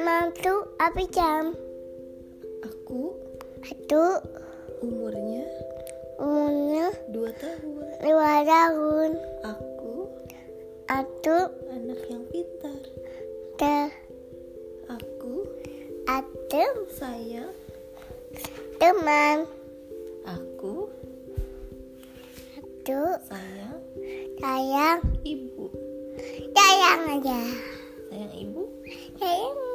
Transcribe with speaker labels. Speaker 1: Mantu apa jam?
Speaker 2: Aku
Speaker 1: Satu
Speaker 2: umurnya
Speaker 1: umurnya
Speaker 2: 2 tahun.
Speaker 1: dua tahun.
Speaker 2: Aku
Speaker 1: Atu
Speaker 2: anak yang pintar.
Speaker 1: ter
Speaker 2: Aku
Speaker 1: atu
Speaker 2: sayang.
Speaker 1: teman.
Speaker 2: Aku
Speaker 1: Atu
Speaker 2: sayang
Speaker 1: sayang
Speaker 2: ibu.
Speaker 1: sayang aja.
Speaker 2: Sayang ibu?
Speaker 1: Sayang